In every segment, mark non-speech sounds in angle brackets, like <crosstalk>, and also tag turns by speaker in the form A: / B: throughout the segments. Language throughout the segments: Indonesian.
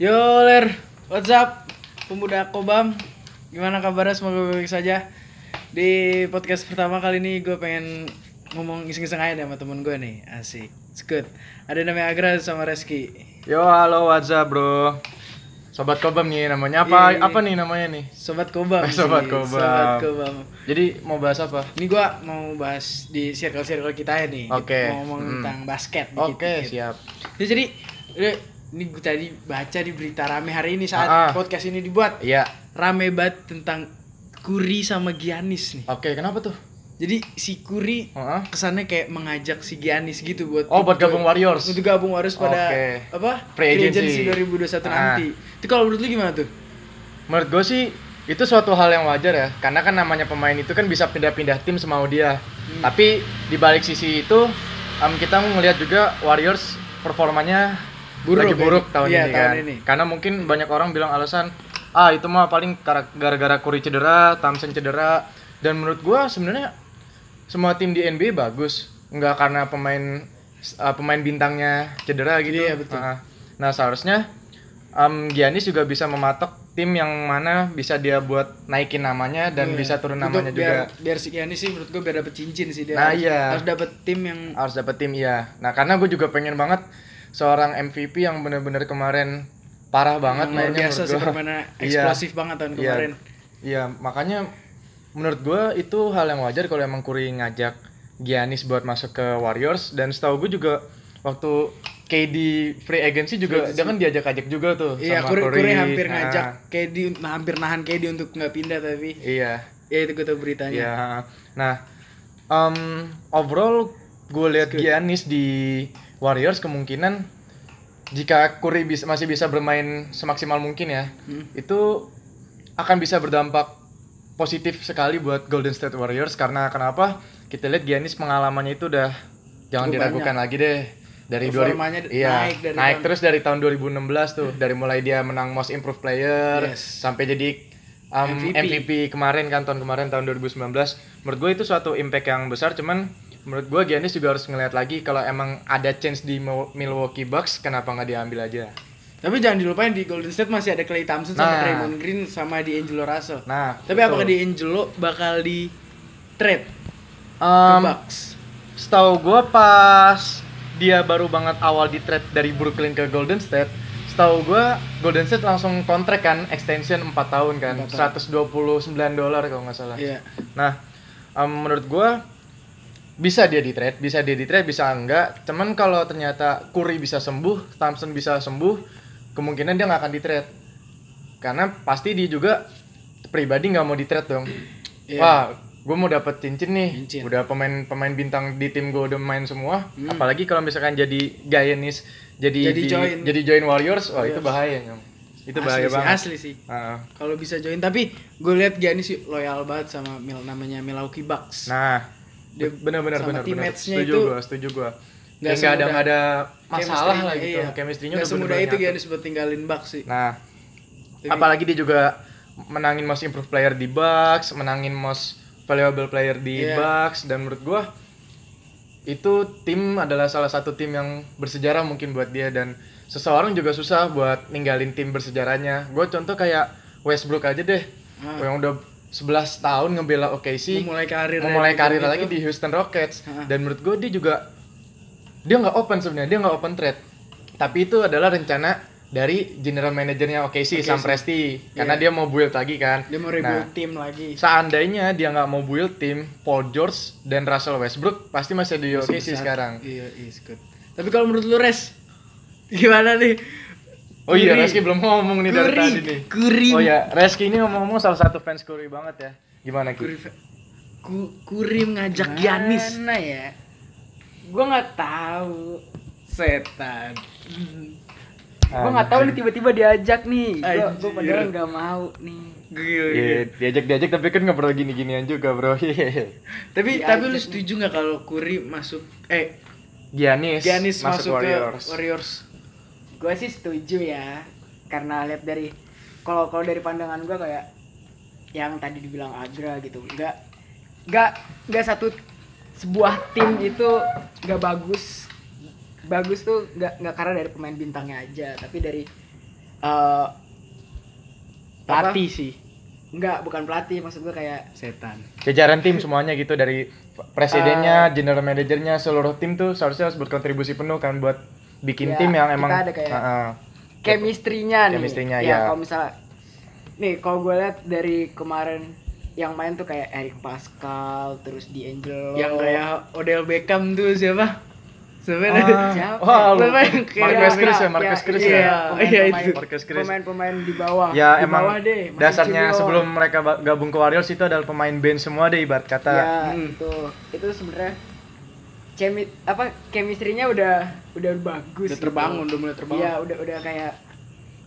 A: Yo Ler, what's up? Pemuda Kobam, gimana kabarnya? Semoga baik saja. Di podcast pertama kali ini gue pengen ngomong iseng-iseng aja deh sama temen gue nih, asik. It's good. Ada namanya Agra sama Reski.
B: Yo, halo WhatsApp bro. Iya, Sobat Kobam nih namanya apa?
A: Yeay.
B: Apa nih namanya nih?
A: Sobat Kobam.
B: Eh, <laughs>
A: sih,
B: Sobat Kobam.
A: Sobat Kobam.
B: Jadi mau bahas apa?
A: Ini gue mau bahas di circle-circle kita ya nih.
B: Oke.
A: Mau ngomong
B: Hmm.
A: tentang basket.
B: Oke,
A: dikit-dikit.
B: siap.
A: Ya, jadi, eh, ini gue tadi baca di berita rame hari ini saat
B: Ah, ah.
A: podcast ini dibuat.
B: Iya.
A: Rame banget tentang Kuri sama Giannis nih.
B: Oke, kenapa tuh?
A: Jadi si Kuri
B: Heeh.
A: kesannya kayak mengajak si Giannis gitu buat
B: Oh, buat gabung Warriors.
A: untuk gabung harus pada
B: Oke.
A: apa
B: Free agency.
A: 2021
B: Ah.
A: nanti. Itu kalau menurut lu gimana tuh?
B: Menurut gue sih itu suatu hal yang wajar ya, karena kan namanya pemain itu kan bisa pindah-pindah tim semau dia. Tapi di balik sisi itu, em, kita ngelihat juga Warriors performanya
A: Buruk
B: lagi
A: ya?
B: buruk tahun
A: Iya,
B: ini
A: tahun
B: kan.
A: ini.
B: Karena mungkin banyak orang bilang alasan, ah itu mah paling kar- gara-gara Curry cedera, Thompson cedera. Dan menurut gue sebenarnya semua tim di NBA bagus, nggak karena pemain eh, pemain bintangnya cedera gitu.
A: Iya, betul.
B: Ah. Nah seharusnya em, Giannis juga bisa mematok tim yang mana bisa dia buat naikin namanya dan
A: Iya.
B: bisa turun
A: Itu
B: namanya
A: biar,
B: juga.
A: Biar si Giannis sih menurut gue biar dapet cincin sih dia.
B: Nah,
A: harus,
B: iya.
A: harus dapet tim yang
B: Harus dapet tim iya. Nah karena gue juga pengen banget seorang MVP yang bener-bener kemarin parah banget
A: yang luar
B: mainnya
A: biasa
B: menurut
A: sih
B: gua.
A: permainan
B: <laughs> Iya.
A: eksplosif banget tahun
B: Iya.
A: kemarin.
B: Iya makanya menurut gue itu hal yang wajar kalau emang Curry ngajak Giannis buat masuk ke Warriors dan setahu gue juga waktu KD free agency juga dia kan diajak-ajak juga tuh
A: Iya,
B: sama
A: Kuri, Kuri hampir
B: Ah,
A: ngajak KD nah, hampir nahan KD untuk nggak pindah tapi
B: Iya.
A: ya itu gue tau beritanya.
B: Ya, nah, em, overall gue lihat Giannis di Warriors kemungkinan jika Curry bis- masih bisa bermain semaksimal mungkin ya,
A: Hmm.
B: itu akan bisa berdampak positif sekali buat Golden State Warriors karena kenapa? Kita lihat Giannis pengalamannya itu udah jangan
A: Udah
B: diragukan lagi deh dari
A: Performanya
B: 2000 iya,
A: naik dari tahun-
B: terus dari tahun 2016 tuh dari mulai dia menang Most Improved Player
A: Yes.
B: sampai jadi um,
A: MVP.
B: MVP. kemarin kan tahun kemarin tahun 2019 menurut gue itu suatu impact yang besar cuman menurut gue Giannis juga harus ngeliat lagi kalau emang ada chance di Mil- Milwaukee Bucks kenapa nggak diambil aja
A: Tapi jangan dilupain di Golden State masih ada Clay Thompson sama
B: Nah.
A: Draymond Green sama di Angelo Russell.
B: nah
A: Tapi
B: betul.
A: apakah di Angelo bakal di trade ke
B: Um,
A: Bucks?
B: setahu gue pas dia baru banget awal di trade dari Brooklyn ke Golden State setahu gue Golden State langsung kontrak kan extension 4 tahun kan
A: Empat
B: 129 dolar kalau nggak salah
A: Iya.
B: Nah, em, menurut gua bisa dia di trade, bisa dia di trade, bisa enggak. Cuman kalau ternyata Curry bisa sembuh, Thompson bisa sembuh, kemungkinan dia nggak akan di trade. Karena pasti dia juga pribadi nggak mau di trade dong.
A: Iya.
B: Wah, gue mau dapat cincin nih.
A: Cincin. Hmm.
B: Udah pemain-pemain bintang di tim gue udah main semua. Apalagi kalau misalkan jadi Giannis, jadi
A: Jadi
B: di-
A: join.
B: jadi join Warriors, wah itu bahaya Nyong. Itu bahaya
A: asli
B: banget.
A: Sih, asli sih.
B: Heeh.
A: Kalau bisa join tapi gue lihat Giannis sih loyal banget sama Mil namanya Milwaukee Bucks.
B: Nah,
A: Dia
B: benar-benar
A: sama
B: benar benar.
A: teammates-nya
B: Setuju
A: itu
B: gua, setuju gua.
A: nggak
B: Kayak nggak ada
A: semudah-
B: nggak ada masalah
A: Chemistry-nya,
B: lah gitu.
A: iya.
B: Chemistry-nya
A: Nggak
B: udah
A: semudah
B: bener-bener
A: itu
B: nyatu.
A: Giannis buat tinggalin Bucks sih.
B: Nah,
A: Jadi-
B: apalagi dia juga menangin most improved player di Bucks, menangin most valuable player di
A: Iya.
B: Bucks dan menurut gua itu tim adalah salah satu tim yang bersejarah mungkin buat dia dan seseorang juga susah buat ninggalin tim bersejarahnya. Gue contoh kayak Westbrook aja deh.
A: Ah.
B: Yang udah 11 tahun ngebela OKC
A: Memulai karir
B: memulai
A: dari
B: karir
A: tim
B: lagi
A: itu. gitu.
B: di Houston Rockets
A: Ha.
B: dan menurut gue dia juga dia nggak open sebenarnya dia nggak open trade tapi itu adalah rencana dari general manajernya OKC Sam Presti karena dia mau build lagi kan
A: Dia mau
B: Nah,
A: rebuild tim lagi.
B: seandainya dia nggak mau build tim Paul George dan Russell Westbrook pasti masih di OKC
A: Besar.
B: sekarang
A: Iya, iya, good. Tapi kalau menurut lu Res gimana nih?
B: oh iya
A: Curry.
B: Reski belum ngomong nih dari
A: Curry.
B: tadi nih
A: Curry.
B: oh ya Reski ini ngomong-ngomong salah satu fans Curry banget ya gimana Ki?
A: Kuri, ku, Kuri ngajak Giannis.
C: Mana ya? Gue nggak tahu. Setan. Gue nggak tahu nih tiba-tiba diajak nih.
A: Anjir.
C: Gue padahal nggak mau nih.
A: Gila, gila.
B: Iya, diajak diajak tapi kan ngobrol gini ginian juga bro <laughs> Iya.
A: Tapi tapi lu setuju nggak kalau Kuri masuk eh
B: Giannis,
A: Giannis masuk, ke Warriors.
C: Gue sih setuju ya. Karena lihat dari kalau kalau dari pandangan gue kayak yang tadi dibilang Agra gitu. Nggak nggak nggak satu sebuah tim itu nggak bagus bagus tuh nggak nggak karena dari pemain bintangnya aja tapi dari eh,
A: Pelatih sih,
C: Enggak, bukan pelatih, maksud gue kayak
A: setan.
B: jajaran tim semuanya gitu dari
C: Ah.
B: presidennya, general manajernya, seluruh tim tuh seharusnya harus berkontribusi penuh kan buat bikin
C: Iya,
B: tim yang emang
C: kita ada kayak-
B: Ah, ah.
C: chemistry-nya nih.
B: Chemistry-nya,
C: ya.
B: ya.
C: Kalau misalnya nih kalau gue lihat dari kemarin yang main tuh kayak Eric Pascal, terus D'Angelo.
A: Yang kayak Odell Beckham tuh siapa?
B: Ah,
A: Sebenarnya.
C: Siapa?
B: wah, lu-
A: Pemain
B: Marquez Chris ya, Marquez Chris ya.
A: iya.
C: Iya,
A: Iya,
C: itu.
A: itu.
B: Marquez Chris.
C: Pemain-pemain di bawah.
B: Ya
C: di
B: emang
C: bawah deh, masih
B: dasarnya
C: junior.
B: sebelum mereka ba- gabung ke Warriors itu adalah pemain band semua deh ibarat kata.
C: Ya,
A: Hmm.
C: itu. Itu sebenarnya chemi apa chemistry-nya udah udah bagus.
A: Udah
C: gitu.
A: terbangun, udah mulai terbangun.
C: Iya, udah udah kayak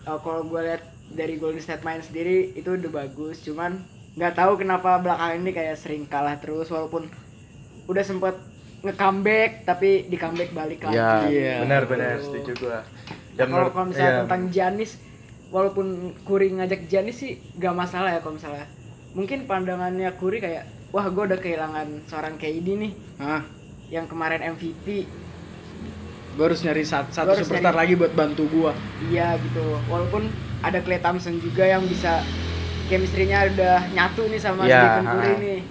C: uh, kalau gue lihat dari Golden State main sendiri itu udah bagus, cuman nggak tahu kenapa belakangan ini kayak sering kalah terus walaupun udah sempet nge-comeback tapi di comeback balik lagi.
B: Iya,
A: Iya.
B: benar-benar
C: Gitu.
B: setuju gua.
C: Ya, kalau
B: menurut-
C: kalau misalnya
B: iya.
C: tentang Janis walaupun Kuri ngajak Janis sih gak masalah ya kalau misalnya. Mungkin pandangannya Kuri kayak wah gue udah kehilangan seorang KD nih
A: Hah?
C: yang kemarin MVP
A: Gue harus nyari sat- satu
C: Gua harus
A: superstar
C: nyari-
A: lagi buat bantu gua.
C: Iya gitu. Walaupun ada Clay Thompson juga yang bisa chemistry-nya udah nyatu nih sama
B: Iya,
C: Stephen Curry
B: ha.
C: nih.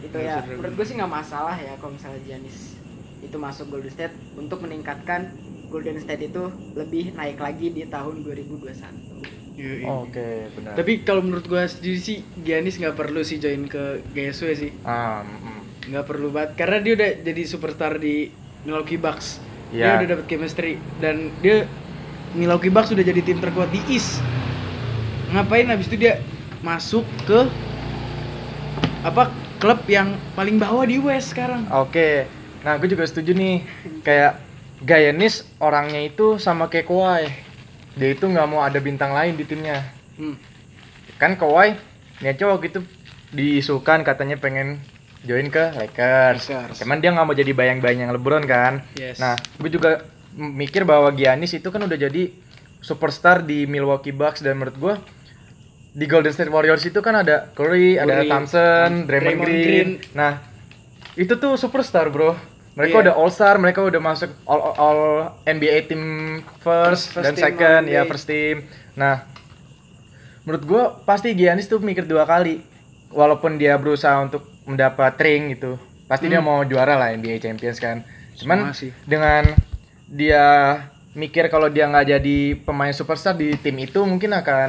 C: Itu
A: Bener,
C: ya.
A: bener,
C: Menurut gue sih nggak masalah ya kalau misalnya Giannis itu masuk Golden State untuk meningkatkan Golden State itu lebih naik lagi di tahun 2021.
A: Yoi.
C: Oh,
B: Oke, benar.
A: Tapi kalau menurut gua sendiri sih Giannis nggak perlu sih join ke GSW sih.
B: Ah, mm,
A: Nggak perlu banget karena dia udah jadi superstar di Milwaukee Bucks.
B: Iya.
A: Dia udah dapet chemistry dan dia Milwaukee Bucks udah jadi tim terkuat di East. Ngapain habis itu dia masuk ke apa klub yang paling bawah di West sekarang?
B: Oke, nah gue juga setuju nih kayak Gayanis orangnya itu sama kayak Kawhi, dia itu nggak mau ada bintang lain di timnya.
A: Hmm.
B: Kan Kawhi, niatnya cowok itu diisukan katanya pengen join ke Lakers.
A: Lakers.
B: Cuman dia nggak mau jadi bayang-bayang LeBron kan.
A: Yes.
B: Nah, gue juga m- mikir bahwa Giannis itu kan udah jadi superstar di Milwaukee Bucks dan menurut gue di Golden State Warriors itu kan ada Curry, ada
A: Curry,
B: Thompson, Draymond
A: Draymond
B: Green.
A: Green.
B: Nah, itu tuh superstar, Bro.
A: Iya.
B: Mereka udah all star, mereka udah masuk all, all, all NBA team first,
C: First
B: dan
C: team
B: second, ya
C: all-NBA.
B: first team. Nah, menurut gue pasti Giannis tuh mikir dua kali walaupun dia berusaha untuk mendapat ring gitu pasti dia mau juara lah NBA Champions kan
A: Semua
B: cuman
A: Hmm. sih.
B: dengan dia mikir kalau dia nggak jadi pemain superstar di tim itu mungkin akan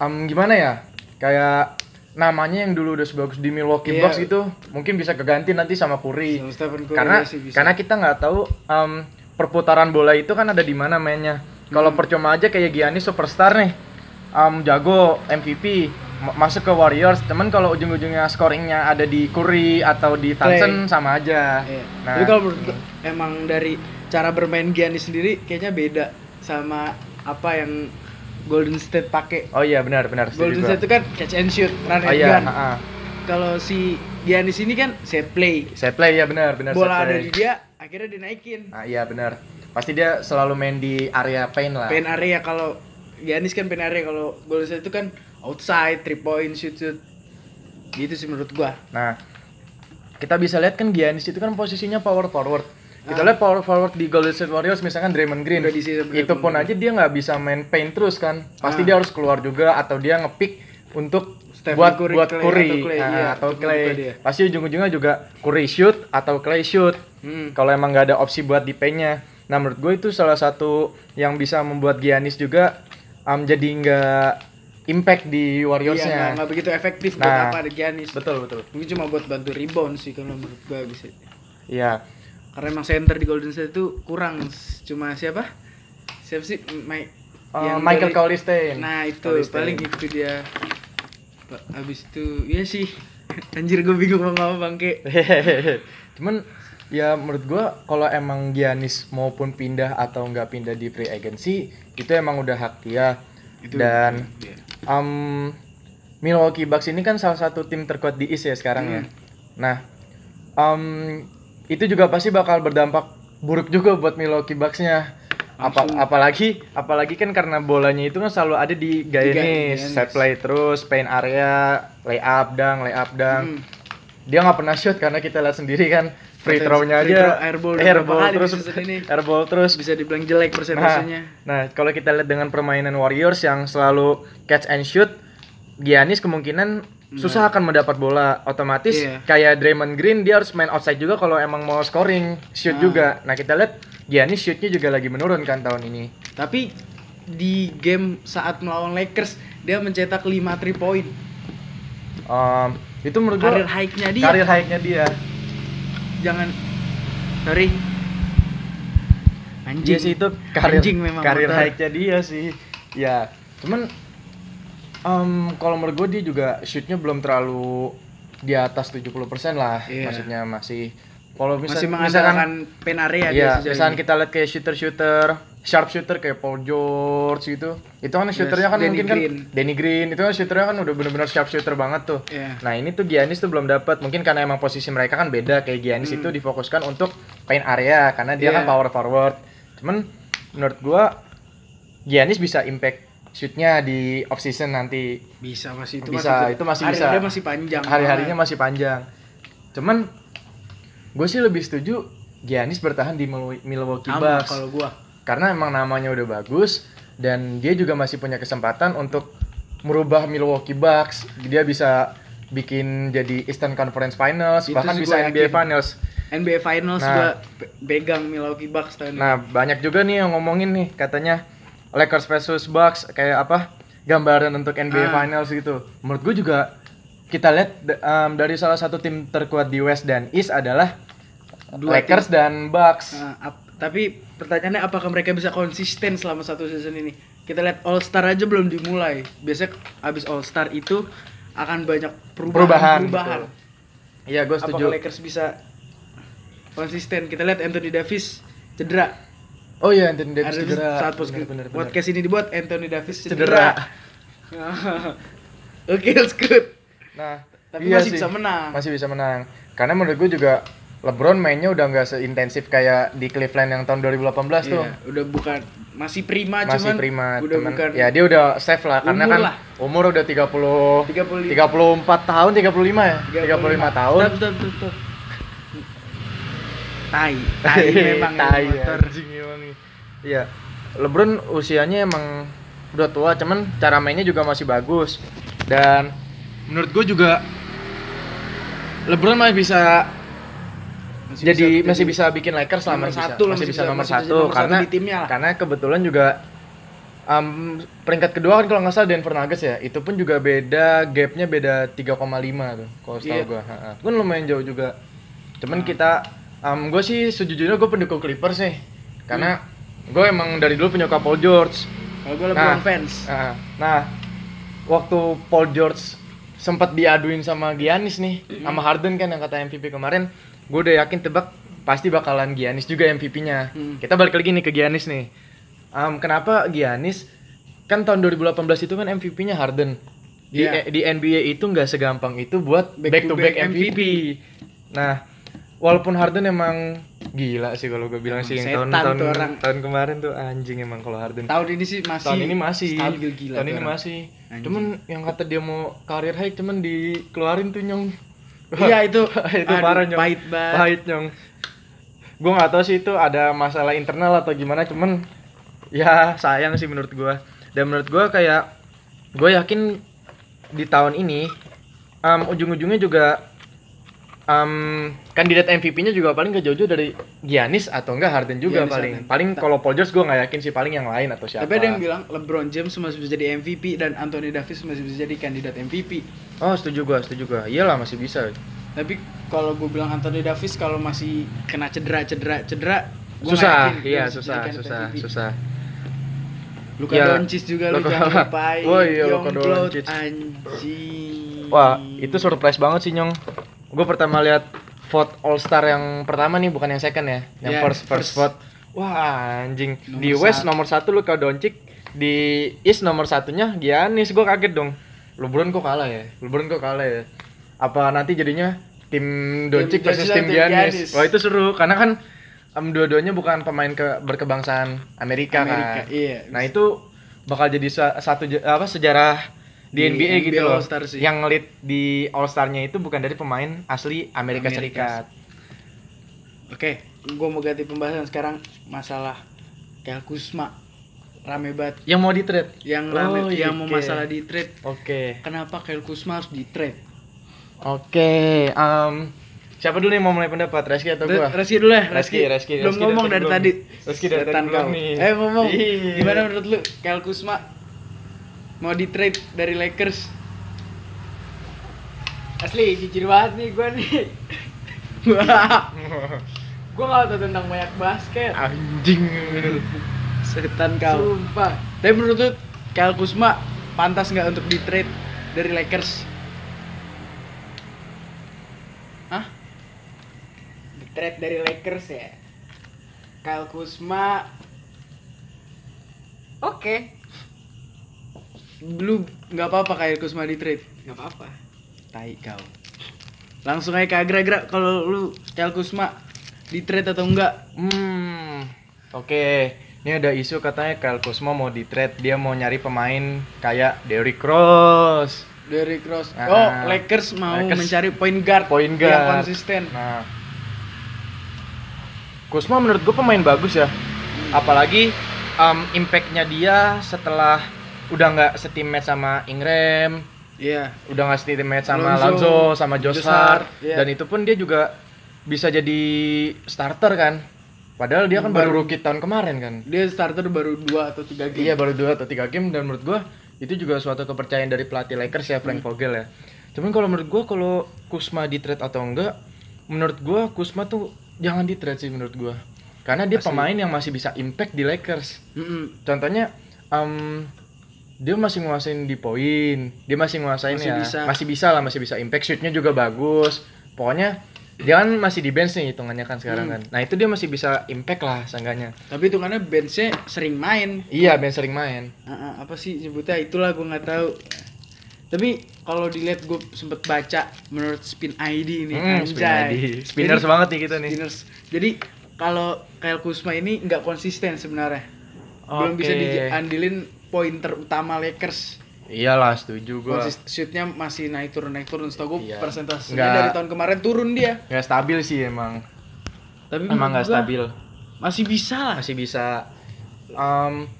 B: em, gimana ya kayak namanya yang dulu udah sebagus di Milwaukee
A: Iya.
B: Bucks gitu mungkin bisa keganti nanti sama Curry
A: Sama Stephen Curry
B: karena
A: iya sih bisa.
B: karena kita nggak tahu em, perputaran bola itu kan ada di mana mainnya kalau
A: Hmm.
B: percuma aja kayak Giannis superstar nih em, jago MVP ma- masuk ke Warriors temen kalau ujung-ujungnya scoringnya ada di Curry atau di
A: Clay.
B: Thompson sama aja
A: Iya.
B: nah
A: Tapi kalau menurut gua, emang dari cara bermain Giannis sendiri kayaknya beda sama apa yang Golden State pakai.
B: oh iya benar benar setuju
A: Golden
B: gua.
A: State itu kan catch and shoot, run
B: oh
A: and
B: iya
A: gun.
B: ha-ha.
A: Kalau si Giannis ini kan set play.
B: set play ya benar benar
A: Bola
B: set
A: ada
B: play.
A: di dia, akhirnya dinaikin.
B: Ah, iya benar pasti dia selalu main di area paint lah
A: Pen area kalau Giannis kan pen area kalau Golden State itu kan outside, three point shoot shoot. Gitu sih menurut gua.
B: Nah, kita bisa lihat kan Giannis itu kan posisinya power forward. Kita lihat power forward di Golden State Warriors misalkan Draymond Green.
A: Udah di sisi
B: itu pun aja dia nggak bisa main paint terus kan. Pasti dia harus keluar juga atau dia ngepick untuk
A: Ah. Stephen
B: buat
A: Curry,
B: buat
A: Clay,
B: Curry
A: atau Clay,
B: Nah,
A: iya,
B: atau
A: untuk
B: Clay.
A: membuka dia.
B: Pasti ujung-ujungnya juga Curry shoot atau Clay shoot.
A: Hmm.
B: Kalau emang nggak ada opsi buat di paintnya. Nah, menurut gue itu salah satu yang bisa membuat Giannis juga am jadi nggak impact di
A: Iya, nggak-
B: Warriorsnya.
A: nggak begitu efektif buat
B: Nah.
A: apa ada Giannis.
B: betul, betul.
A: Mungkin cuma buat bantu rebound sih kalau menurut gua bisa.
B: Iya.
A: Karena emang center di Golden State itu kurang S- cuma siapa? Siapa sih Mike
B: Eh, Michael
A: dari-
B: Colistein.
A: Nah, itu
B: Colistein. <laughs>
A: paling itu dia. Pa- Abis itu ya sih. <laughs> Anjir gue bingung mau ngomong bangke.
B: Cuman ya menurut gua kalau emang Giannis maupun pindah atau nggak pindah di free agency itu emang udah hak dia.
A: Itu
B: Dan
A: Iya.
B: um, Milwaukee Bucks ini kan salah satu tim terkuat di East ya sekarang ya.
A: Hmm.
B: Nah, um, itu juga pasti bakal berdampak buruk juga buat Milwaukee Bucks-nya. Apa, apalagi apalagi kan karena bolanya itu kan selalu ada di
A: Giannis.
B: Giannis, set play terus, paint
A: Hmm.
B: area, layup dang, layup dang. Dia nggak pernah shoot karena kita lihat sendiri kan free throw-nya
A: Free
B: aja
A: throw, airball udah berapa
B: airball
A: kali di
B: terus
A: season ini?
B: airball terus
A: bisa dibilang jelek persentasenya.
B: Nah, nah, kalau kita lihat dengan permainan Warriors yang selalu catch and shoot, Giannis kemungkinan susah akan mendapat bola otomatis
A: Nah. Iya.
B: kayak Draymond Green dia harus main outside juga kalau emang mau scoring shoot
A: Ah.
B: juga. Nah, kita lihat Giannis shootnya juga lagi menurun kan tahun ini.
A: Tapi di game saat melawan Lakers dia mencetak 5 3 point.
B: Um, itu menurut gua
A: Karir high-nya dia.
B: karir high-nya dia.
A: Jangan sorry. Anjing.
B: Iya sih itu karir
A: Anjing memang
B: karir
A: motor.
B: high-nya dia sih. Ya, cuman em, kalau menurut gue dia juga shootnya belum terlalu di atas 70% lah
A: Iya.
B: maksudnya masih kalau misal,
A: masih
B: misalkan
A: mengandalkan pen area dia
B: Iya,
A: sejauh
B: misalkan
A: ini.
B: kita lihat kayak shooter-shooter, sharp shooter kayak Paul George gitu. Itu kan shooternya kan
A: Danny
B: mungkin
A: Green.
B: kan Danny Green itu kan shooternya kan udah bener-bener sharp shooter banget tuh.
A: Iya.
B: Nah, ini tuh Giannis tuh belum dapat. Mungkin karena emang posisi mereka kan beda kayak Giannis itu difokuskan untuk paint area karena dia
A: Hmm. Iya.
B: kan power forward. Cuman menurut gua Giannis bisa impact shootnya di off season nanti.
A: Bisa masih itu
B: Bisa, itu masih
A: hari
B: bisa.
A: Dia masih panjang.
B: Hari-harinya masih panjang. Cuman gue sih lebih setuju Giannis bertahan di Mil- Milwaukee
A: sama
B: Bucks
A: kalau gua.
B: karena emang namanya udah bagus dan dia juga masih punya kesempatan untuk merubah Milwaukee Bucks. Dia bisa bikin jadi Eastern Conference Finals,
A: Itu
B: bahkan
A: sih
B: bisa
A: gua
B: NBA
A: yakin.
B: Finals.
A: NBA Finals
B: Nah.
A: juga pe- pegang Milwaukee Bucks tahun ini.
B: Nah, banyak juga nih yang ngomongin nih katanya Lakers versus Bucks kayak apa? gambaran untuk NBA
A: Ah.
B: Finals gitu. Menurut gue juga kita lihat d- em, dari salah satu tim terkuat di West dan East adalah
A: Dua
B: Lakers dan Bucks.
A: Nah, ap- tapi pertanyaannya apakah mereka bisa konsisten selama satu season ini? Kita lihat All Star aja belum dimulai. Biasanya abis All Star itu akan banyak
B: Perubahan.
A: perubahan. perubahan.
B: gitu. Iya, gue setuju.
A: Apakah Lakers bisa konsisten? Kita lihat Anthony Davis cedera.
B: Oh iya, Anthony Davis
A: Ada
B: cedera.
A: saat post-
B: Bener, bener, bener.
A: podcast ini dibuat Anthony Davis
B: Cedera.
A: cedera. <laughs> Oke, let's good.
B: Nah,
A: Tapi masih bisa menang.
B: Masih bisa menang. Karena menurut gue juga LeBron mainnya udah nggak seintensif kayak di Cleveland yang tahun 2018 tuh.
A: Iya, udah bukan masih prima
B: Masih
A: cuman
B: prima,
A: udah
B: temen.
A: bukan
B: Ya, dia udah safe lah karena
A: Umur
B: kan
A: lah.
B: umur udah 30
A: 35.
B: 34 tahun, 35 ya? 35 tahun.
A: Tep, tep, tep, tep. Tai, tai memang
B: <laughs> Tai, ya.
A: yang motor.
B: anjing emang nih. Iya. LeBron usianya emang udah tua, cuman cara mainnya juga masih bagus. Dan menurut gue juga LeBron masih bisa
A: Masih
B: jadi
A: bisa-
B: masih bisa bikin Lakers lah
A: nomor
B: masih bisa,
A: satu lah,
B: masih
A: masih
B: bisa
A: bisa-
B: nomor
A: masih bisa
B: satu
A: nomor satu
B: karena
A: di timnya lah.
B: karena kebetulan juga um, peringkat kedua kan kalau nggak salah Denver Nuggets ya itu pun juga beda gapnya beda 3,5 tuh kalau setahu
A: Iya. Nah.
B: gua Ha-ha. pun lumayan jauh juga cuman kita um, gue sih sejujurnya gue pendukung Clippers nih karena
A: Hmm.
B: gue emang dari dulu penyuka Paul George
A: Kalau gue lebih
B: Nah.
A: fans.
B: Nah, nah, waktu Paul George sempat diaduin sama Giannis nih, sama Harden kan yang kata MVP kemarin, gue udah yakin tebak pasti bakalan Giannis juga MVP-nya.
A: Hmm.
B: Kita balik lagi nih ke Giannis nih. Am, kenapa Giannis kan tahun 2018 itu kan MVP-nya Harden. Di,
A: Iya.
B: E, di NBA itu nggak segampang itu buat
A: Back
B: back to
A: to
B: back,
A: back
B: MVP. Nah, walaupun Harden emang gila sih kalau gue bilang
A: Emang
B: sih yang tahun,
A: setan
B: tahun,
A: tuh orang.
B: tahun kemarin tuh anjing emang kalau Harden
A: Tahun ini sih masih
B: tahun ini masih
A: stabil gila. tuh
B: tahun ini
A: orang.
B: masih
A: Anjing.
B: cuman yang kata dia mau karir high cuman dikeluarin tuh nyong
A: <laughs> Iya itu
B: <laughs> itu
A: aduh,
B: parah nyong
A: Pahit banget.
B: pahit nyong gue nggak tahu sih itu ada masalah internal atau gimana cuman ya sayang sih menurut gua dan menurut gua kayak gue yakin di tahun ini em, ujung-ujungnya juga em, kandidat MVP-nya juga paling gak jauh-jauh dari Giannis atau enggak Harden juga
A: Giannis
B: paling
A: Harden.
B: paling kalau Paul George gue nggak yakin sih paling yang lain atau siapa
A: Tapi ada yang bilang LeBron James masih bisa jadi MVP dan Anthony Davis masih bisa jadi kandidat MVP.
B: Oh setuju gua, setuju gua. Iyalah masih bisa.
A: Tapi kalau gue bilang Anthony Davis kalau masih kena cedera cedera cedera gua nggak
B: susah,
A: yakin dia
B: iya
A: bisa jadi
B: susah,
A: kandidat
B: susah,
A: MVP.
B: susah.
A: Luka
B: Iya.
A: Doncic juga lu
B: Luka-
A: jangan lupain.
B: Wah, iya, Luka
A: Youngblood,
B: Doncic.
A: Anjing.
B: Wah, itu surprise banget sih nyong. Gue pertama lihat vote All Star yang pertama nih, bukan yang second ya, yang
A: Iya,
B: first, first
A: first.
B: vote. Wah anjing.
A: Nomor
B: di West
A: satu.
B: nomor satu Luka Doncic, di East nomor satunya Giannis. Gue kaget dong. LeBron kok kalah ya? LeBron kok kalah ya? Apa nanti jadinya tim
A: Doncic
B: Doncic versus
A: lawan
B: tim
A: tim
B: Giannis?
A: Giannis.
B: Wah itu seru, karena kan em, dua-duanya bukan pemain ke berkebangsaan Amerika,
A: Amerika,
B: kan.
A: iya.
B: Nah itu bakal jadi sa- satu je- apa sejarah di,
A: Di
B: NBA,
A: NBA
B: gitu loh.
A: All-Star sih.
B: Yang lead di All Star-nya itu bukan dari pemain asli Amerika,
A: Amerika.
B: Serikat.
A: Oke, gue mau ganti pembahasan sekarang masalah Kel Kusma rame banget
B: Yang mau di trade.
A: yang
B: Oh,
A: rame
B: iya,
A: yang mau
B: oke.
A: masalah di trade.
B: Oke.
A: Kenapa Kel Kusma harus di trade?
B: Oke. em, siapa dulu yang mau mulai pendapat? Reski atau gua?
A: Reski dulu ya,
B: ah. Reski,
A: Reski.
B: Reski,
A: Belum
B: Reski dari
A: ngomong
B: tadi
A: dari
B: belum.
A: tadi.
B: Reski dari tadi
A: Setan
B: belum
A: kau.
B: nih.
A: Eh ngomong.
B: Iya.
A: Gimana menurut lu Kel Kusma mau di trade dari Lakers?
C: Asli jujur banget nih gue
A: <laughs>
C: nih. gue gak tau tentang banyak basket.
B: Anjing.
A: Setan kau.
C: Sumpah.
A: Tapi menurut lu Kel Kusma pantas nggak untuk di trade dari Lakers? Hah?
C: The trade dari Lakers ya. Kyle Kuzma. Oke,
A: Lu nggak apa-apa Kel Kusma di trade?
C: nggak apa-apa.
A: Tai kau. Langsung aja ke Agra Agra kalau lu Kel Kusma di trade atau enggak?
B: Hmm. Oke. Ini ada isu katanya Kyle Kuzma mau di trade, dia mau nyari pemain kayak Derrick Rose.
A: Dari Cross.
B: Ah,
A: oh, Lakers mau
B: Lakers.
A: mencari point guard,
B: Point
A: yang
B: guard.
A: konsisten.
B: Nah. Kusma menurut gue pemain bagus ya. Apalagi um, impact-nya dia setelah udah nggak setimet sama Ingram,
A: Iya.
B: udah nggak setimet sama
A: Lonzo,
B: Lonzo, sama Josh
A: Josh Hart,
B: Hart,
A: iya.
B: dan itu pun dia juga bisa jadi starter kan. Padahal dia kan baru,
A: Baru-
B: rookie tahun kemarin kan.
A: Dia starter baru 2 atau 3 game.
B: Iya baru dua atau tiga game dan menurut gua itu juga suatu kepercayaan dari pelatih Lakers ya Frank Vogel ya. Cuman kalau menurut gua kalau Kusma di trade atau enggak, menurut gua Kusma tuh jangan di trade sih menurut gua. Karena dia pemain yang masih bisa impact di Lakers.
A: Mm-mm.
B: Contohnya em, dia masih nguasain di poin, dia masih nguasain
A: Masih
B: ya,
A: bisa.
B: masih bisa lah, masih bisa impact shootnya juga bagus. Pokoknya dia kan masih di bench nih hitungannya kan sekarang kan. Nah, itu dia masih bisa impact lah seenggaknya.
A: Tapi itu karena benchnya sering main.
B: Iya, bench sering main.
A: Ah, ah, apa sih sebutnya itulah gue nggak tahu tapi kalau dilihat gue sempet baca menurut spin ID nih
B: Hmm, spin ID. Spinners
A: Jadi-
B: banget nih kita nih.
A: spinners jadi kalau Kyle Kuzma ini nggak konsisten sebenarnya belum
B: Oke.
A: bisa diandilin poin terutama Lakers
B: Iyalah, setuju gua.
A: Konsis- shootnya masih naik turun naik turun setahu gue
B: Iya.
A: persentasenya
B: Nggak-
A: dari tahun kemarin turun dia
B: Nggak stabil sih emang.
A: tapi menurut
B: Emang nggak
A: gua
B: stabil.
A: masih bisa lah
B: Masih bisa um,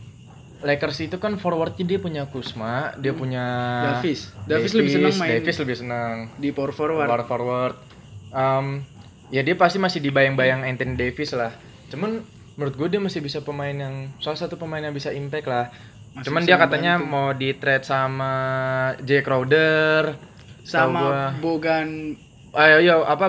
B: Lakers itu kan forwardnya dia punya Kusma, dia punya
A: Hmm. Davis. Davis lebih seneng main.
B: Davis lebih seneng
A: di power forward
B: forward forward. Um, ya dia pasti masih dibayang-bayang Anthony Davis lah. Cuman menurut gue dia masih bisa pemain yang salah satu pemain yang bisa impact lah.
A: Masih
B: Cuman
A: bisa
B: dia katanya mau di trade sama Jay Crowder setahu gua.
A: sama Bogan
B: Ayo, Eh, yo, apa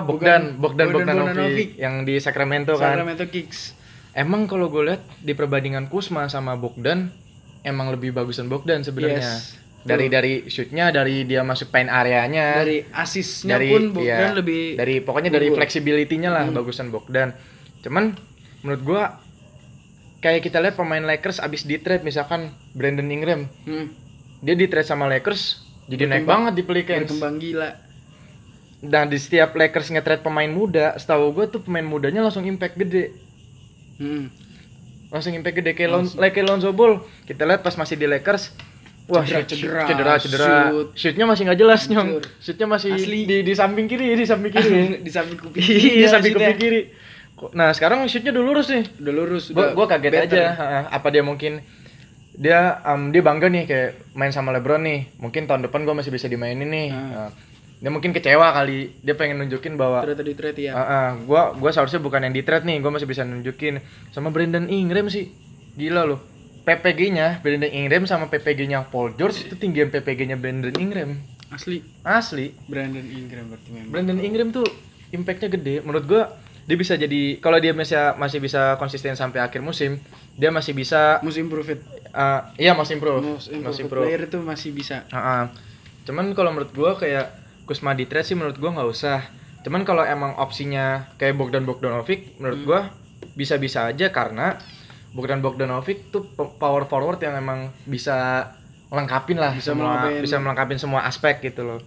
A: Bogdan-
B: Bogdan, Bogdan,
A: Bogdan
B: Bogdanovic,
A: Bogdanovic.
B: yang di Sacramento kan.
A: Sacramento Kings
B: Emang kalau gue lihat di perbandingan Kusma sama Bogdan, emang lebih bagusan Bogdan sebenarnya.
A: Yes.
B: Dari dari shootnya, dari dia masuk paint areanya,
A: dari asisnya pun Bogdan
B: iya,
A: lebly
B: dari pokoknya dari
A: unggul. Hmm.
B: flexibility-nya lah bagusan Bogdan. Cuman menurut gue kayak kita lihat pemain Lakers abis di trade misalkan Brandon Ingram,
A: Hmm,
B: dia di trade sama Lakers jadi naik
A: Berkembang.
B: banget di Pelicans.
A: berkembang gila.
B: Nah di setiap Lakers nge-trade pemain muda, setahu gue tuh pemain mudanya langsung impact gede.
A: Hmm.
B: Langsung impact gede kayak, Lon like kayak Lonzo Ball. Kita lihat pas masih di Lakers, wah
A: Cedera,
B: shoot-
A: cedera,
B: cedera, cedera.
A: shoot.
B: Shootnya masih nggak jelas nyong.
A: Hancur.
B: Shootnya masih
A: Asli.
B: di di samping kiri, di samping kiri.
A: <laughs> di samping kuping.
B: <laughs> Iya,
A: Iya,
B: samping kuping
A: maksudnya.
B: kiri. Ko- Nah sekarang shootnya udah lurus nih.
A: Udah lurus,
B: Gue
A: udah.
B: gua kaget
A: better.
B: aja. Ha, ha. Apa dia mungkin dia em, dia bangga nih kayak main sama LeBron nih. Mungkin tahun depan gue masih bisa dimainin nih. Nah, dia mungkin kecewa kali. Dia pengen nunjukin bahwa
A: Ternyata di trade ya.
B: Ah, ah, gua gua seharusnya bukan yang di trade nih, gua masih bisa nunjukin sama Brandon Ingram sih. Gila loh. PPG-nya Brandon Ingram sama PPG-nya Paul George itu tinggian PPG-nya Brandon Ingram.
A: Asli
B: Asli,
A: Brandon Ingram berarti memang.
B: Ah. Brandon Ingram tuh impact-nya gede. Menurut gua dia bisa jadi kalau dia masih masih bisa konsisten sampai akhir musim, dia masih bisa
A: Most improved.
B: ah, iya masih improve.
A: Most improved
B: Masih improve.
A: player itu masih bisa.
B: Heeh. Cuman kalau menurut gua kayak Kusma di trade sih menurut gua nggak usah. Cuman kalau emang opsinya kayak Bogdan Bogdanovic menurut gua bisa-bisa aja karena Bogdan Bogdanovic tuh pe- power forward yang emang bisa lengkapin lah
A: Bisa
B: semua
A: melengkapin.
B: bisa melengkapin semua aspek gitu loh.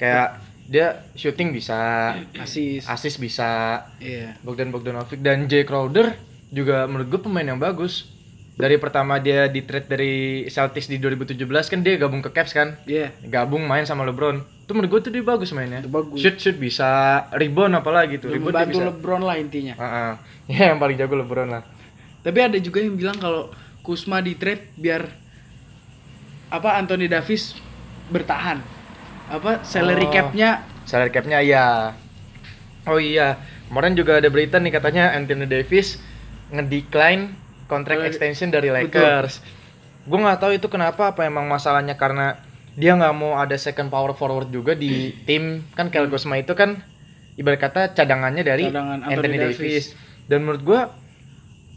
B: Kayak dia shooting bisa,
A: Asis.
B: assist bisa,
A: Iya.
B: Bogdan Bogdanovic dan Jay Crowder juga menurut gue pemain yang bagus. dari pertama dia di trade dari Celtics di 2017 kan dia gabung ke Cavs kan
A: Iya.
B: gabung main sama LeBron itu menurut gue tuh dia bagus mainnya
A: Itu bagus.
B: shoot shoot bisa rebound apalagi tuh rebound dia
A: Membantu
B: bisa
A: LeBron lah intinya.
B: Ah, ah. <laughs> ya yang paling jago LeBron lah
A: Tapi ada juga yang bilang kalau Kusma di trade biar apa Anthony Davis bertahan. Apa salary
B: Oh.
A: cap-nya
B: salary capnya ya oh iya kemarin juga ada berita nih katanya Anthony Davis ngedecline kontrak
A: Dari-
B: extension dari
A: Eh, Betul.
B: Lakers gue nggak tahu itu kenapa apa emang masalahnya karena dia nggak mau ada second power forward juga di tim kan Kyle Kuzma itu kan ibarat kata cadangannya dari
A: Hmm. Cadangan
B: Anthony,
A: Anthony
B: Davis. dan menurut gue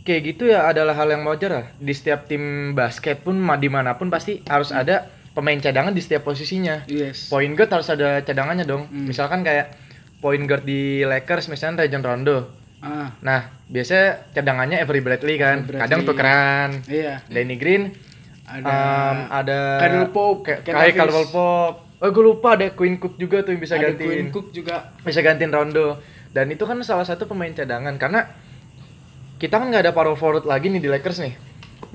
B: kayak gitu ya adalah hal yang wajar lah di setiap tim basket pun ma- dimanapun pasti harus
A: Hmm.
B: ada pemain cadangan di setiap posisinya
A: yes.
B: point guard harus ada cadangannya dong.
A: Hmm.
B: Misalkan kayak point guard di Lakers misalnya Rajon Rondo.
A: Ah,
B: Nah, biasanya cadangannya Avery Bradley kan.
A: Avery
B: Kadang
A: Bradley.
B: tukeran.
A: iya.
B: Danny Green
A: Ada
B: um, ada
A: Caldwell Pope,
B: Ka-
A: Ken
B: kayak
A: Davis.
B: Caldwell Pope. Oh, gue lupa ada Queen Cook juga tuh yang bisa
A: ada Quinn
B: gantiin.
A: Cook juga.
B: Bisa gantiin Rondo. Dan itu kan salah satu pemain cadangan karena kita kan nggak ada power forward lagi nih di Lakers nih.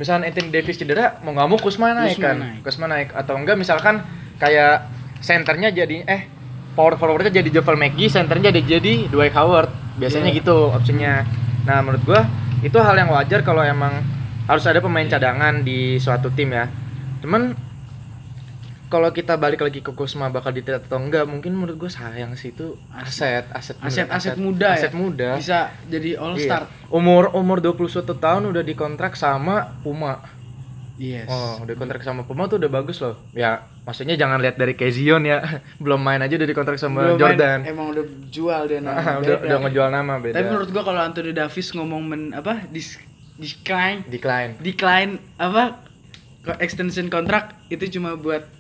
B: Misalnya Anthony Davis cedera, mau nggak mau Kusma naik
A: Kuzma
B: kan?
A: naik.
B: Kusma naik atau enggak misalkan kayak senternya jadi eh power forwardnya jadi Jovel McGee, senternya jadi jadi Dwight Howard. Biasanya
A: Iya.
B: gitu opsinya. Nah, menurut gua itu hal yang wajar kalau emang harus ada pemain cadangan di suatu tim ya. Cuman kalau kita balik lagi ke Kusma bakal di atau enggak, mungkin menurut gua sayang sih itu aset, aset bener,
A: Aset-aset muda ya.
B: Aset muda.
A: Bisa jadi all
B: Iya.
A: star.
B: Umur umur 21 tahun udah dikontrak sama Puma.
A: Yes.
B: Oh, udah kontrak sama Puma tuh udah bagus loh. Ya, maksudnya jangan lihat dari Kezion ya. <laughs> Belum main aja udah dikontrak sama
A: Belum main,
B: Jordan. <laughs>
A: emang udah jual dia nama.
B: Ah, udah
A: Beda.
B: udah ngejual nama beda.
A: Tapi menurut gua kalau Anthony Davis ngomong men apa dis, decline
B: decline.
A: decline apa ko- extension kontrak itu cuma buat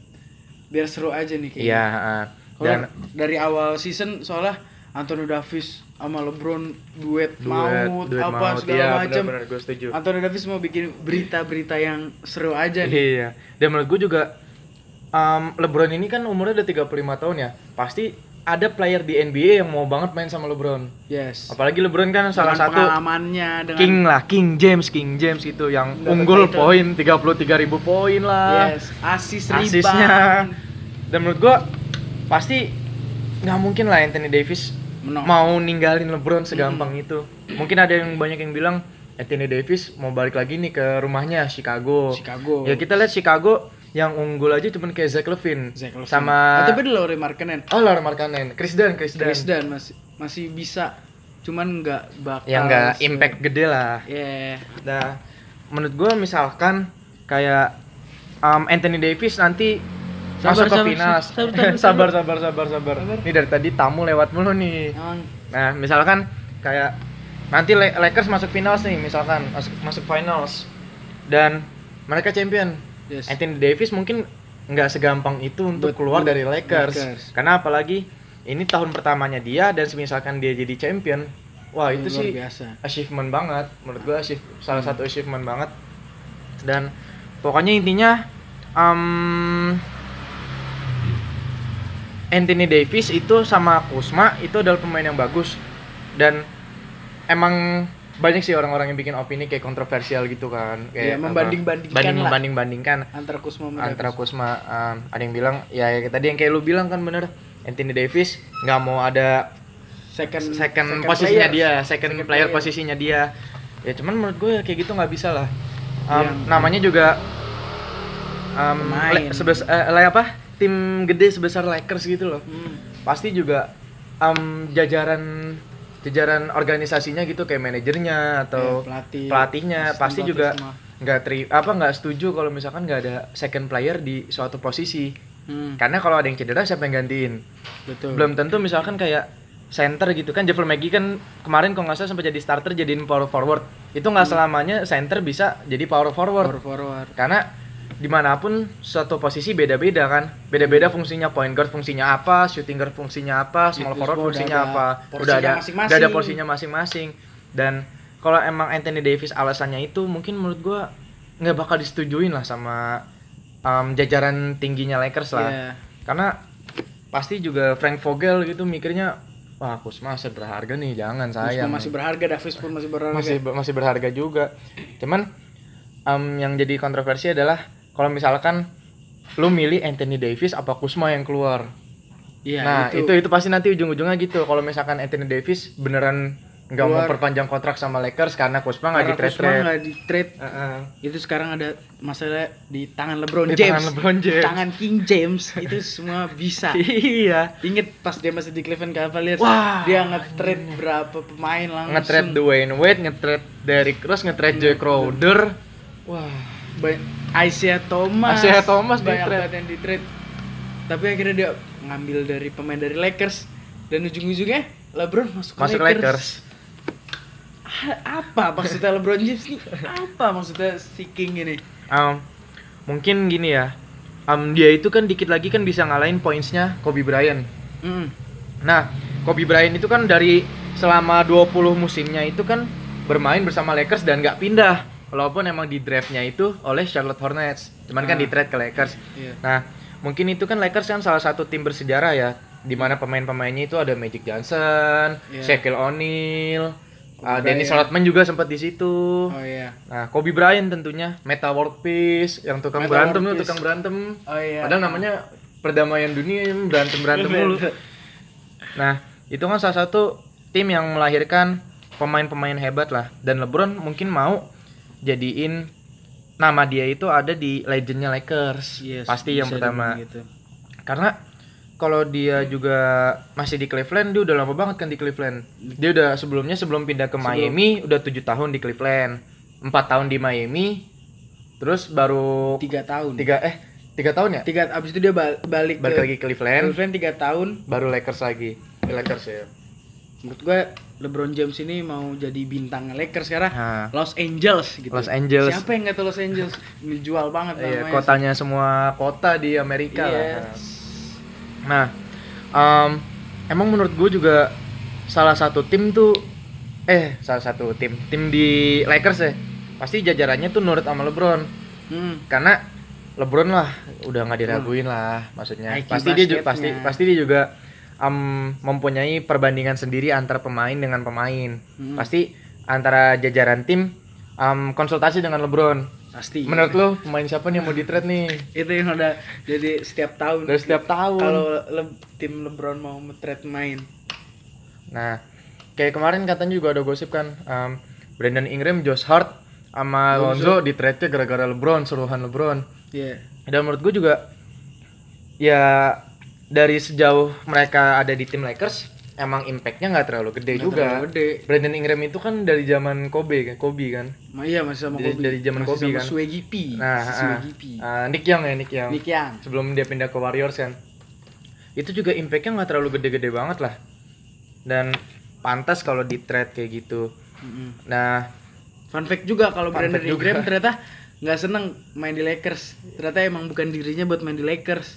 A: biar seru aja nih kayaknya.
B: Iya, ah. dan
A: Kalau dari awal season soalnya Anthony Davis sama LeBron duet,
B: duet-
A: maut
B: duet
A: apa
B: maut.
A: segala
B: Iya,
A: macam.
B: benar-benar gue setuju.
A: Anthony Davis mau bikin berita-berita yang seru aja nih.
B: Iya. Dan menurut gue juga um, LeBron ini kan umurnya udah 35 tahun ya. Pasti ada player di NBA yang mau banget main sama LeBron.
A: Yes.
B: Apalagi LeBron kan salah
A: Dengan
B: satu
A: pengalamannya dengan
B: King lah, King James, King James itu yang
A: Dapat
B: unggul
A: title.
B: poin 33.000 ribu poin lah.
A: yes, asis
B: asisnya
A: rebound.
B: dan menurut gua pasti nggak mungkin lah Anthony Davis
A: Menang.
B: mau ninggalin LeBron segampang itu mungkin ada yang banyak yang bilang Anthony Davis mau balik lagi nih ke rumahnya Chicago
A: Chicago.
B: ya kita lihat Chicago yang unggul aja cuman kayak Zach Levine,
A: Zach Levine.
B: sama
A: Ah, tapi di Lauri Markkanen
B: oh Lauren Markkanen Chris Dunn Chris Dunn
A: Chris Dunn masih masih bisa cuman nggak bakal
B: yang nggak
A: se-
B: impact gede lah
A: Yeah.
B: Nah, menurut gue misalkan kayak um, Anthony Davis nanti
A: Sabar,
B: masuk ke
A: sabar,
B: final.
A: sabar, sabar,
B: <laughs> Sabar, sabar, sabar, sabar.
A: Sabar.
B: Ini dari tadi tamu lewat mulu nih.
A: Emang
B: Nah, misalkan kayak nanti Le- Lakers masuk finals nih, misalkan masuk masuk finals dan mereka champion.
A: Yes.
B: Anthony Davis mungkin nggak segampang itu untuk
A: Buat-
B: keluar
A: buat
B: dari Lakers.
A: Lakers.
B: Karena apalagi ini tahun pertamanya dia dan misalkan dia jadi champion, wah oh,
A: luar
B: itu sih
A: biasa. Hmm.
B: achievement banget menurut gua achieve, salah satu achievement banget dan pokoknya intinya um, Anthony Davis itu sama Kusma itu adalah pemain yang bagus dan emang banyak sih orang-orang yang bikin opini kayak kontroversial gitu kan
A: Iya,
B: kayak apa,
A: membanding-bandingkan
B: banding-
A: lah.
B: membanding-bandingkan
A: Antara Kusma sama
B: antara
A: Davis.
B: Kusma um, ada yang bilang ya, ya tadi yang kayak lu bilang kan bener Anthony Davis nggak mau ada
A: second,
B: second, posisinya
A: player.
B: dia, second,
A: Second player.
B: player, posisinya dia. Ya cuman menurut gue ya kayak gitu nggak bisa lah. Um,
A: Yang-
B: namanya juga um,
A: Iya, Pemain.
B: le- sebes- eh, le- apa? Tim gede sebesar Lakers gitu loh.
A: Hmm.
B: Pasti juga um, jajaran jajaran organisasinya gitu kayak manajernya atau
A: Iya, pelatih,
B: pelatihnya
A: asisten
B: pasti
A: pelatih
B: juga
A: semua.
B: nggak teri apa nggak setuju kalau misalkan nggak ada second player di suatu posisi.
A: Hmm,
B: Karena kalau ada yang cedera siapa yang gantiin?
A: betul.
B: belum tentu misalkan kayak center gitu kan Javel Maggie kan kemarin kalau nggak salah sempat jadi starter jadiin power forward itu nggak selamanya center bisa jadi power forward
A: forward. forward.
B: karena dimanapun suatu posisi beda-beda kan beda-beda fungsinya point guard fungsinya apa shooting guard fungsinya apa small
A: Itu
B: forward
A: semua udah
B: fungsinya
A: ada
B: apa
A: porsinya
B: udah ada
A: masing-masing.
B: udah ada porsinya masing-masing dan kalau emang Anthony Davis alasannya itu mungkin menurut gua nggak bakal disetujuin lah sama um, jajaran tingginya Lakers lah
A: Iya.
B: karena pasti juga Frank Vogel gitu mikirnya wah Kusma aset berharga nih jangan
A: Kusma
B: sayang
A: masih berharga, Davis pun masih berharga.
B: masih masih berharga juga cuman em, yang jadi kontroversi adalah kalau misalkan lu milih Anthony Davis apa Kuzma yang keluar.
A: Iya,
B: nah, itu. itu pasti nanti ujung-ujungnya gitu. Kalau misalkan Anthony Davis beneran nggak mau
A: Keluar.
B: perpanjang kontrak sama Lakers karena Kuzma
A: Karena
B: nggak
A: Kuzma
B: di-trade-trade.
A: nggak di trade.
B: Heeh.
A: Itu sekarang ada masalah di tangan LeBron
B: Di
A: James.
B: tangan LeBron James.
A: Tangan King James itu semua bisa.
B: <laughs> iya.
A: Ingat pas dia masih di Cleveland Cavaliers,
B: Wah.
A: dia nge-trade berapa pemain langsung.
B: Nge-trade Dwayne Wade, nge-trade Derrick Rose, nge-trade Joe Crowder. Wah.
A: Ba- Isaiah Thomas.
B: Isaiah Thomas
A: banyak
B: di-trade.
A: banget yang di trade. Tapi akhirnya dia ngambil dari pemain dari Lakers dan ujung-ujungnya LeBron masuk, ke
B: Masuk Lakers.
A: Ah, Apa maksudnya LeBron James nih? Apa maksudnya si King ini?
B: Um, mungkin gini ya. Um, dia itu kan dikit lagi kan bisa ngalahin pointsnya Kobe Bryant.
A: Mm.
B: Nah, Kobe Bryant itu kan dari selama 20 musimnya itu kan bermain bersama Lakers dan nggak pindah. Walaupun emang di draftnya itu oleh Charlotte Hornets, cuman
A: Ah.
B: kan di trade ke Lakers.
A: Iya.
B: Nah, mungkin itu kan Lakers kan salah satu tim bersejarah ya, di mana pemain-pemainnya itu ada Magic Johnson,
A: Iya.
B: Shaquille O'Neal, uh,
A: Bryant.
B: Dennis Rodman juga sempat di situ.
A: Oh iya.
B: Nah, Kobe Bryant tentunya, Meta World Peace, yang tukang
A: Meta World
B: berantem tuh,
A: Peace.
B: tukang berantem.
A: Oh iya.
B: Padahal namanya perdamaian dunia berantem
A: <laughs>
B: berantem mulu. Nah, itu kan salah satu tim yang melahirkan pemain-pemain hebat lah. Dan LeBron mungkin mau jadiin nama dia itu ada di legendnya Lakers.
A: Yes,
B: Pasti yang
A: bisa
B: pertama.
A: dibilang gitu.
B: Karena kalau dia juga masih di Cleveland, dia udah lama banget kan di Cleveland. Dia udah sebelumnya sebelum pindah ke Miami udah tujuh tahun di Cleveland, empat tahun di Miami, terus baru
A: Tiga tahun. Tiga,
B: tiga eh tiga tahun ya
A: abis itu dia bal- balik,
B: balik
A: ke
B: lagi ke Cleveland,
A: Cleveland tiga tahun.
B: baru Lakers lagi. Lakers ya.
A: Menurut gue LeBron James ini mau jadi bintang Lakers sekarang.
B: Nah,
A: Los Angeles gitu.
B: Los Angeles.
A: Siapa yang nggak tahu Los Angeles? Dijual banget
B: Iya,
A: namanya.
B: kotanya semua kota di Amerika
A: Iya.
B: lah. Nah, em, emang menurut gue juga salah satu tim tuh eh salah satu tim tim di Lakers ya pasti jajarannya tuh nurut sama LeBron
A: Hmm.
B: karena LeBron lah udah nggak diraguin lah maksudnya
A: IQ
B: pasti dia juga
A: Hmm. basketnya.
B: pasti pasti dia juga em, mempunyai perbandingan sendiri antara pemain dengan pemain
A: Hmm.
B: pasti antara jajaran tim em, konsultasi dengan LeBron
A: Pasti.
B: menurut lo pemain siapa nih yang mau di trade nih
A: itu yang udah jadi setiap tahun.
B: dari setiap tahun
A: Kalau Le- tim LeBron mau nge-trade main.
B: nah kayak kemarin katanya juga ada gosip kan em, Brandon Ingram Josh Hart sama Lonzo di trade nya gara-gara LeBron seruhan LeBron
A: Iya.
B: dan menurut gue juga ya dari sejauh mereka ada di tim Lakers emang impactnya nggak terlalu gede
A: Nggak
B: Iya juga
A: terlalu gede.
B: Brandon Ingram itu kan dari zaman Kobe kan Kobe kan
A: Ma iya masih sama
B: Dari-
A: Kobe.
B: dari zaman
A: Masih
B: Kobe
A: sama
B: kan?
A: Swaggy P.
B: nah
A: Si
B: ah,
A: Swaggy Iya, P.
B: ah, Nick Young ya Nick Young
A: Nick Young.
B: sebelum dia pindah ke Warriors kan itu juga impactnya nggak terlalu gede-gede banget lah dan pantas kalau di trade kayak gitu
A: Mm-mm.
B: nah
A: Fun fact juga kalau
B: Fun
A: Brandon
B: fact juga.
A: Ingram
B: <laughs>
A: ternyata nggak seneng main di Lakers. Ternyata emang bukan dirinya buat main di Lakers.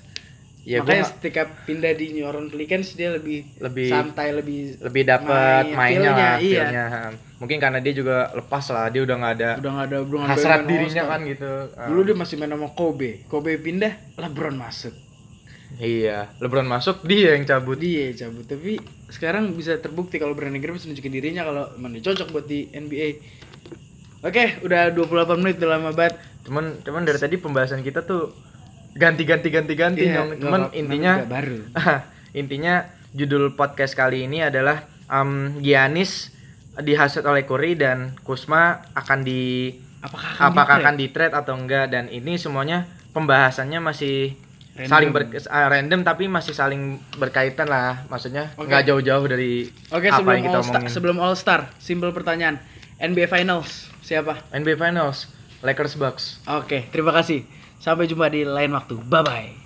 B: ya
A: Makanya
B: gue
A: ketika pindah di New Orleans Pelicans dia lebih
B: Lebih-
A: santai, lebih
B: lebih
A: main,
B: dapat mainnya
A: feel-nya,
B: lah
A: iya.
B: feel-nya. Ha. mungkin karena dia juga lepas lah dia udah nggak ada
A: udah nggak ada hubungan
B: hasrat
A: dengan
B: dirinya
A: All-Star.
B: kan gitu Ah,
A: Dulu dia masih main sama Kobe. Kobe pindah, LeBron masuk.
B: iya LeBron masuk dia yang cabut
A: Dia Iya, cabut, tapi sekarang bisa terbukti kalau Brandon Ingram bisa nunjukin dirinya kalau emang dia cocok buat di NBA. Oke, udah 28 menit udah lama banget.
B: cuman cuman dari tadi pembahasan kita tuh ganti-ganti ganti-ganti
A: Iya,
B: Nyong.
A: nggak
B: cuman
A: apa-
B: intinya
A: namanya juga baru.
B: <laughs> intinya judul podcast kali ini adalah um, Giannis dihasut oleh Curry dan Kusma akan di
A: Apakah akan ya?
B: apakah
A: di-trade?
B: akan di trade atau enggak dan ini semuanya pembahasannya masih
A: Random.
B: saling ber, ah, random tapi masih saling berkaitan lah maksudnya
A: Oke.
B: nggak jauh-jauh dari
A: Oke,
B: apa
A: sebelum
B: yang kita
A: All Star,
B: omongin
A: sebelum All Star, simple pertanyaan. NBA Finals siapa?
B: NBA Finals Lakers Bucks
A: Oke, terima kasih. Sampai jumpa di lain waktu. Bye bye.